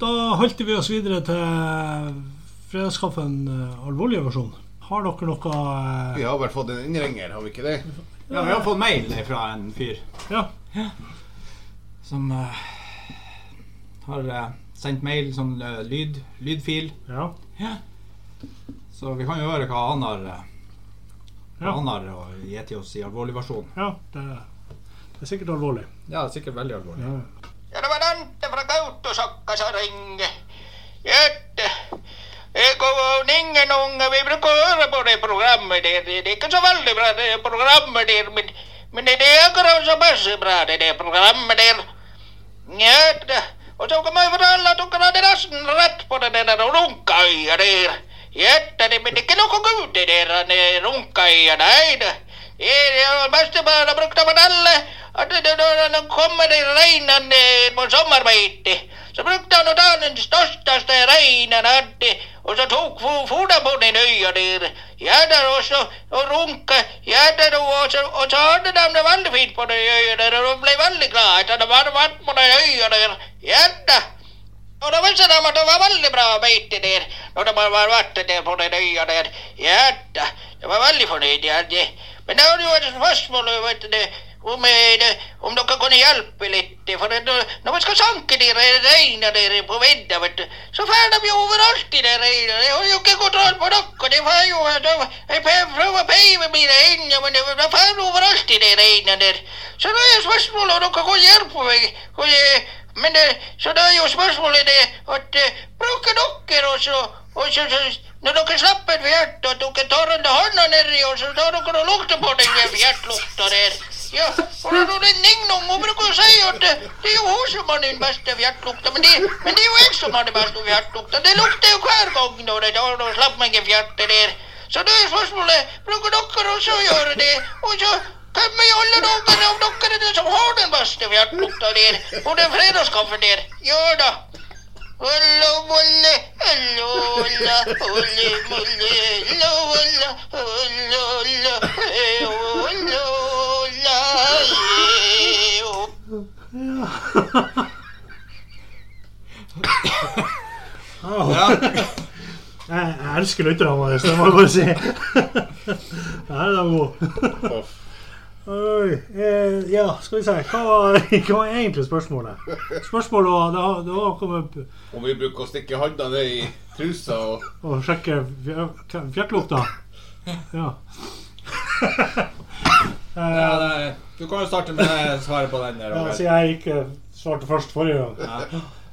Da halter vi oss videre til fredagskaffen eh, alvorlige versjon. Har dere noe eh, Vi har vel fått en innringer, har vi ikke det? Ja, vi har fått mail fra en fyr Ja. som eh, har eh, sendt mail som eh, lyd, lydfil. Ja. Så vi kan jo høre hva han har eh, hva Ja. han har å gi til oss i alvorlig versjon. ja det, det er sikkert alvorlig. Ja, sikkert veldig alvorlig. Ja. ja tämä Dante fra Kauttosakkansa ringe. Jätte. Eikö ole ingen unge vi brukar höra på det program. programmet der. Det er ikke så veldig bra, det programmet der, men, men det er akkurat så masse bra, det der programmet der. Ja, det, og så kan man fortelle at dere hadde nesten rett på det der runkaøya der. Ja, det men ikke noe gud, det der eh, runkaøya, nei. Det, det er bestemor har brukt å fortelle at det- det- når han kommer i reinen eh, på sommerbeite, så brukte han å ta den største reinen han hadde, og så tok fo- foten på den øya der. Ja da, og så og runka, ja da, og så, og så hadde de det veldig fint på den øya der, og de ble veldig glad etter at de hadde vært på den øya der. Ja da. Og da visste de at det var veldig bra beite der, når de hadde vært der på den øya der. Ja da, de var veldig fornøyd. Ja, de. Men det var jo et spørsmål vet du, om, eh, det- om dere kunne hjelpe litt. For det, når man skal sanke de re- reina der på vidda, vet du, så får de jo overalt i de reina. De har jo ikke kontroll på dere. De får jo de- Jeg pe- prøver å peive mine hender, men de de får overalt i de reina der. Så da er spørsmålet om dere kan hjelpe meg. Og, eh, men eh, så da er jo spørsmålet det at eh, bruker dere også og så, så, Når dere slapper fjertet, at dere tar den hånda nedi og så tar dere og lukter på den der fjertlukta der. Ja, og da er det Ningnom hun bruker å si at eh, det er jo hun som har den beste fjertlukta, men, det- men det er jo jeg som har den beste fjertlukta. Det lukter jo hver gang når jeg tar og slapper meg i fjertet der. Så da er spørsmålet bruker dere også å gjøre det. Og så hvem i alle dager av dere er det som har den beste fjertlukta der? Og den fredagskaffen der? Ja da. Olla, olla, olla, olla, olla, olla, olla, olla, olla, eh, olla, olla, eh, opp. Ah. Jeg, jeg elsker lytterne våre, så det må jeg bare si. Der er de gode. Oi, eh, ja, skal vi se. Hva var, hva var egentlig spørsmålet? Spørsmålet var det var- det var å komme opp Om vi bruker å stikke handa ned i trusa og og sjekke fjer- fjertlukta. Ja. Ja, nei, du kan jo starte med svaret på den Eh, der. Ja, Robert. siden jeg ikke svarte først forrige gang.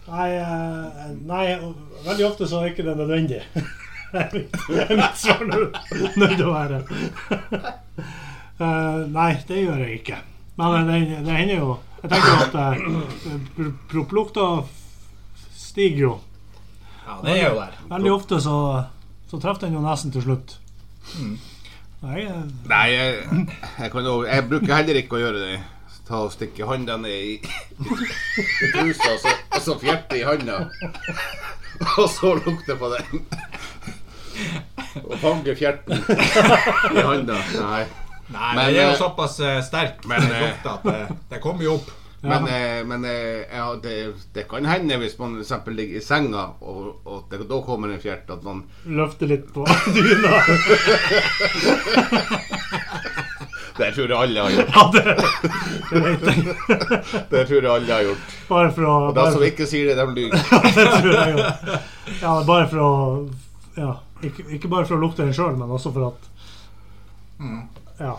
Nei, eh, nei, og veldig ofte så er ikke det nødvendig. Det er mitt svar nå. Nødt til å være. Eh, Nei, det gjør jeg ikke. Men det, det hender jo Jeg tenker at eh, pr- propplukta f- stiger jo. Ja, det er jo der. Veldig ofte så, så treffer den jo nesen til slutt. Nei, eh, Nei, jeg, jeg, kan, jo- jeg bruker heller ikke å gjøre det. Ta og Stikke handa ned i, i trusa og så, og så fjerte i handa. Og så lukte på den. Og fange fjerten i handa. Nei. Nei, Men, det er jo eh, såpass eh, sterk men, eh, lukt at det, det kommer jo opp. Men, eh, men eh, ja, det, det kan hende hvis man for eksempel ligger i senga, og, og det, da kommer en fjert, at man løfter litt på dyna. Det tror jeg alle har gjort. Ja, det, det vet jeg. Det tror jeg alle har gjort. Bare for å De bare som for- ikke sier det, de lyver. det tror jeg jo. Ja, bare for å ja, ikke, ikke bare for å lukte den sjøl, men også for at Mm. Ja.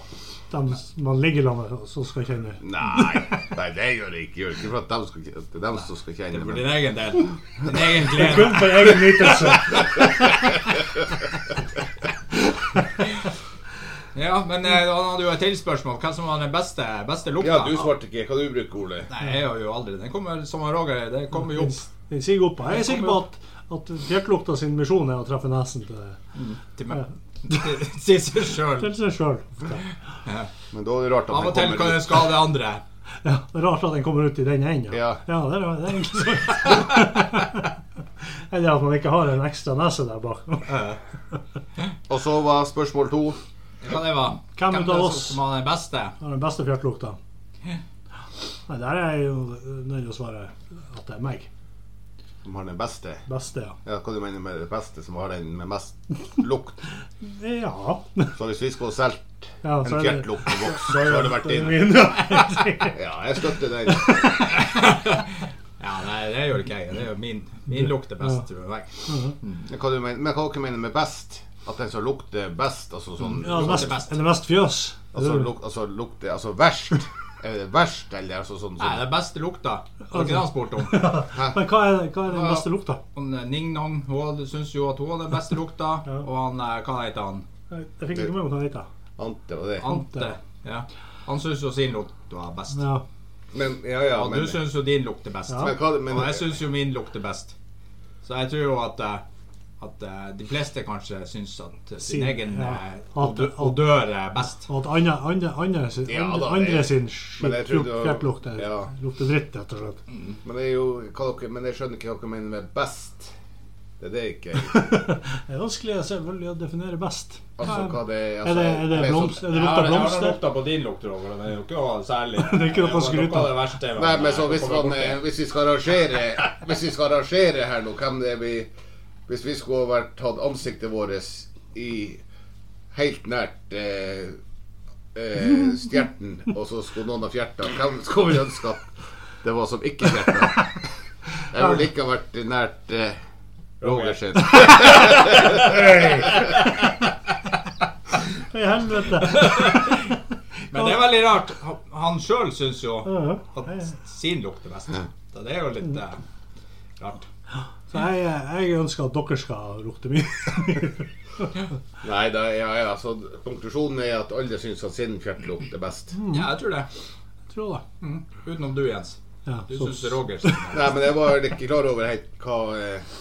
Dem s- man ligger sammen med, så skal kjenne Nei, nei, det gjør jeg ikke. Gjør jeg ikke for at de, skal, det er dem som skal kjenne For men- din egen del. Din egen glede. Kun for egen nytelse. Ja, men eh, han hadde jo et tilspørsmål. Hvem som var den beste, beste lukta? Ja, du svarte ikke. Hva du bruker Ole? Nei, jeg gjør jo aldri det. Kommer, som han Roger, det kommer jo opp Den siger opp. Jeg er sikker på at, at fjertlukta sin misjon er å treffe nesen til, til meg. Sier seg sjøl. til seg sjøl. Men da er det rart at Av han og til kommer kan det ut. skade andre. Ja, det er rart at den kommer ut i den enden. Ja. ja det, er, det er egentlig sant. Eller at man ikke har en ekstra nese der bak. Og så var spørsmål to. Hva det var? Hvem ut av er oss? som var den beste? Har den beste fjertlukta. Nei, der er jeg jo nødt til å svare at det er meg. Som har den beste. Beste, ja. Ja, Hva du mener med det beste som har den med mest lukt? Ja. Så hvis vi skulle ha solgt Ja, en så er det- fjertluktboks, så har det vært din. Min- Ja, jeg støtter den. Ja, nei, det gjør ikke jeg. Det er jo min, min lukt er best, tror jeg. Men hva, du mener, men hva dere mener med best? At den som lukter best, altså sånn Ja, det Det er best. mest, er det mest fjøs? Altså, luk, altså lukter Altså verst? Er det verst, eller altså sånn Nei, sånn den beste lukta. Det var Altså. ikke det han spurte om. Men hva er, hva er den beste lukta? Han, eh, Ning Nong hun hadde- syns jo at hun hadde den beste lukta. Ja. Og han eh, Hva heter han? Jeg fikk ikke med meg hva han heter. Ante var det. Ante. Ja. Han syns jo sin lukt var best. Ja. Men ja, ja. Og Men, du syns jo din lukter best. Ja. men, hva, men Og jeg syns jo min lukter best. Så jeg tror jo at eh, at eh, de fleste kanskje syns at sin Sin, egen ja. eh, At- odø- odør er best. Og at andre, andre, andre, sin- Ja, andre, da, andre det- sin men jeg trodde jo- skjepplukt ja. lukter dritt, rett og slett. men det er jo hva dere, Men jeg skjønner ikke hva dere mener med best. Det er det ikke. Det er vanskelig selvfølgelig å definere best. Altså hva det Er altså, det, er det, jeg- blomst, er det Jeg lukt har- av jeg har blomster? lukta på din lukt, Roger, og den er jo ikke noe særlig. er ikke noe å Det var skryte noe av av. det verste jeg- Nei, men så jeg hvis, kommer man, borti. eh, hvis vi skal arrangere Hvis vi skal arrangere her nå, hvem det er vi Hvis vi skulle ha vært tatt ansiktet vårt i helt nært eh, eh, stjerten, og så skulle noen ha fjerta, hvem skulle vi ønske at det var som ikke fjerta? Jeg ville ikke ha vært nært eh, Roger sin. I helvete! Men det er veldig rart. Han- Han sjøl syns jo Ja, at ja. Mm. sin lukter best. Så det er jo litt eh, rart. Så jeg, jeg ønsker at dere skal lukte mye. Nei, da, ja, ja, så konklusjonen er at alle syns at sin fjertlukt er best. Ja, jeg tror det. Tror det. Utenom du, Jens. Ja, Du så- syns det er Roger som er Nei, men jeg var ikke klar over helt hva, eh,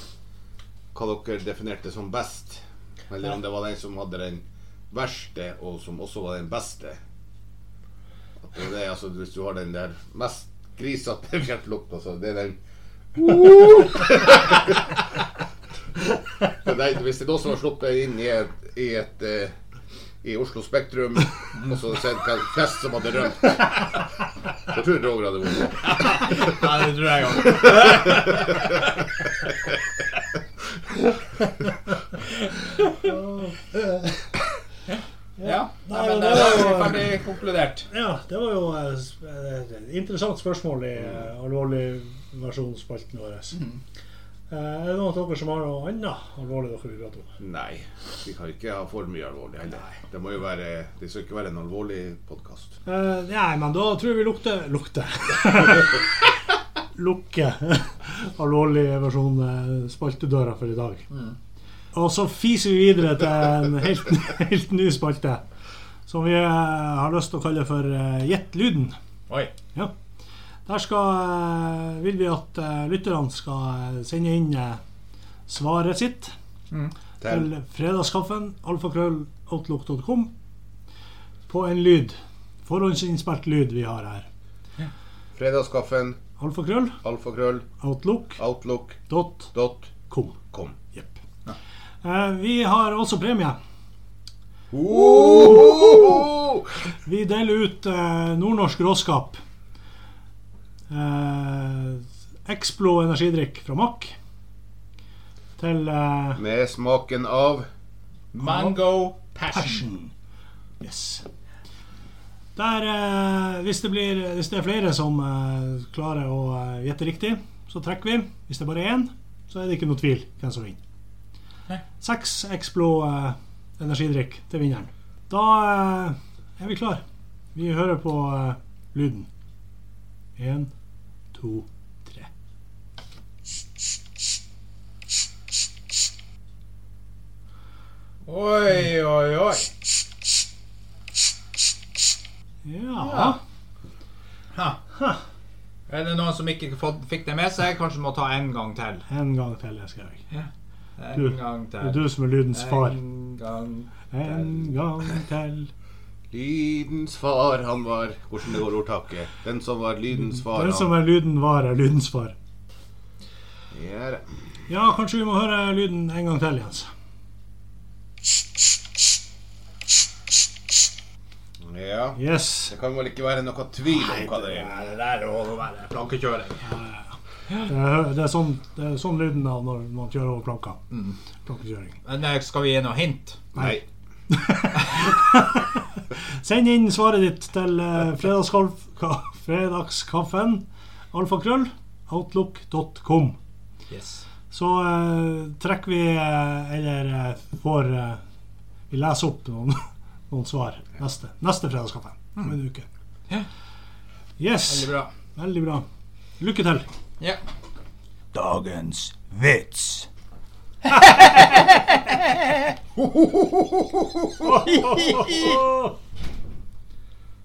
hva dere definerte som best. Eller om det var den som hadde den verste, og som også var den beste. At det er det, altså, hvis du har den der mest grisete fjertlukta, så det er den Men nei, Hvis det er noen som har sluppet inn i et, i et eh, i Oslo Spektrum, og så sett hva flest som hadde rømt. Så tror jeg Roger hadde vunnet. Nei, det tror jeg òg. Ja. Nei, men det er jo ferdig konkludert. Ja, det var jo eh, s- eh, et interessant spørsmål i eh, alvorlig versjonsspalten vår. Mhm. Eh, Er det noen av dere som har noe annet alvorlig dere vil prate om? Nei, vi kan ikke ha for mye alvorlig heller. Det må jo være, det skal ikke være en alvorlig podkast. Eh, nei, men da tror jeg vi lukter Lukter. Lukker alvorlig versjon eh, spaltedøra for i dag. Mhm. Og så fiser vi videre til en helt, helt ny spalte som vi eh, har lyst til å kalle for eh, Gjett lyden. Oi. Ja. Der skal, eh, vil vi at eh, lytterne skal eh, sende inn eh, svaret sitt til Til fredagskaffen alfakrølloutlook.com på en lyd. Forhåndsinnspilt lyd vi har her. fredagskaffen Alfakrølloutlook.com. alfakrøll outlook.com. Jepp. Eh, Vi har også premie. Vi deler ut eh, nordnorsk råskap. Eh, Explo energidrikk fra Mack til eh, Med smaken av Mango passion. Yes. Der, eh, hvis, det blir, hvis det er flere som eh, klarer å eh, gjette riktig, så trekker vi. Hvis det bare er én, så er det ikke noe tvil hvem som vinner. Seks Explo eh, energidrikk til vinneren. Da eh, er vi klar. Vi hører på eh, lyden. Én, to, tre. Oi, oi, oi. Ja. Ha. Er det noen som ikke fått- fikk det med seg? Kanskje må ta en gang til. En gang til, jeg skrev jeg. En Du- gang Det er til. du som er lydens far. En gang En gang til. lydens far, han var Hvordan det går ordtaket? Den som var lydens far, Den som han er lyden, var, er lydens far. Ja, det. Ja, kanskje vi må høre lyden en gang til, Jens. Ja. Yes. Det kan vel ikke være noe tvil om hva det er. Nei, det der må nå være plankekjøring. Det er, det er, sånn, det er sånn lyden av når man kjører over planka. Mm. Plankekjøring. Men eh, skal vi gi noe hint? Nei. Send inn svaret ditt til eh, fredagskaff- ka- fredagskaffen alfakrøll outlook.com. Yes. Så eh, trekker vi eh, eller eh, får eh, Vi leser opp noen, noen svar neste, neste fredagskaffen om en uke. Mm. Ja. Yes. Veldig bra. Veldig bra. Lykke til. Ja. Dagens vits.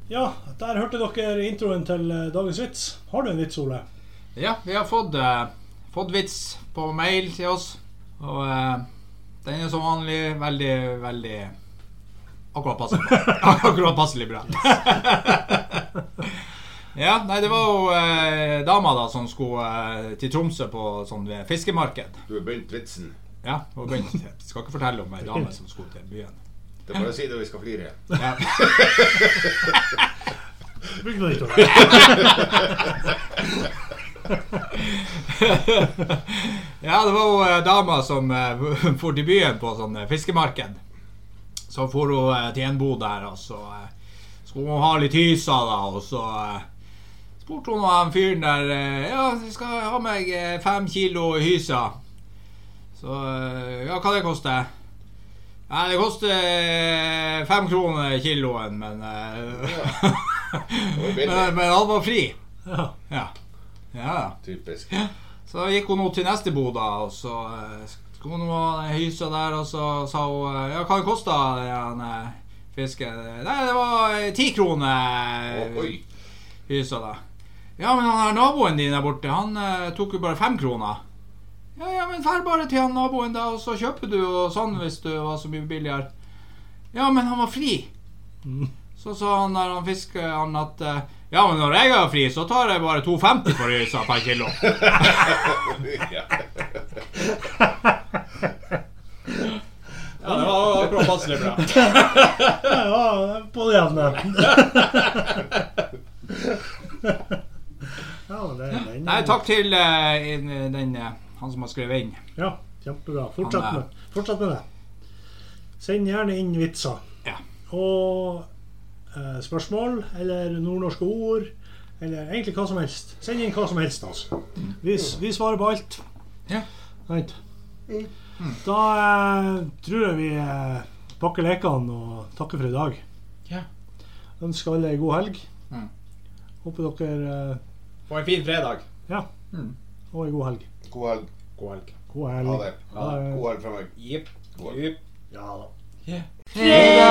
Ja, der hørte dere introen til eh, dagens vits. Har du en vits, Ole? Ja, vi har fått, eh, fått vits på mail til oss. Og eh, den er som vanlig veldig, veldig Akkurat passelig, akkurat passelig bra. ja, nei, det var jo eh, dama da som skulle eh, til Tromsø på sånn eh, fiskemarked. Du har begynt vitsen. Ja, og begynt, jeg skal ikke fortelle om ei dame som skulle til byen. Det er bare å si det, vi skal flire. Ja. Begynn med ditt, Ole. ja, det var jo eh, dama som eh, for til byen på sånn eh, fiskemarked. Så for hun eh, til en bod der, og så eh, skulle hun ha litt hysa, da, og så eh, spurte hun han fyren der eh, Ja, du skal ha meg eh, fem kilo hysa. Så eh, Ja, hva det koster? Nei, det koster eh, fem kroner kiloen, men eh, var billig. Men, men han var fri. Ja. Ja. Ja, ja. Typisk. Så gikk hun nå til neste bod, da, og så eh, skulle hun nå ha den hysa der, og så sa hun eh, Ja, hva den kosta den eh, fisken? Nei, det var eh, ti kroner Å, oi. hysa, da. Ja, men han her naboen din der borte, han eh, tok jo bare fem kroner. Ja, ja, men fær bare til han naboen, da, og så kjøper du og sånn hvis du var så mye billigere. Ja, men han var fri. Mm. Så sa han der han fiskeren at eh, Ja, men når jeg er fri, så tar jeg bare 2,50 for hysa per kilo. Ja. Ja, det var akkurat passelig bra. Ja, ja, på det jevne. Ja, men det er den. Nei, takk til eh, inn- den, eh, han som har skrevet inn. Ja, kjempebra. Fortsett Han er- med, fortsett med det. Send gjerne inn vitser. Ja. Og eh, spørsmål eller nordnorske ord. Eller egentlig hva som helst. Send inn hva som helst, altså. Vi, s- vi svarer på alt. Ja. Sant? Da eh, tror jeg vi eh, pakker lekene og takker for i dag. Ja. Ønsker alle ei god helg. Mm. Håper dere eh, Få en fin fredag. Ja. Mm. Og ei god helg. God helg. God helg. God helg. Ha det. Ha det. God helg fra meg. Jipp. God helg. Jipp. Ja da. Ja. Fredag.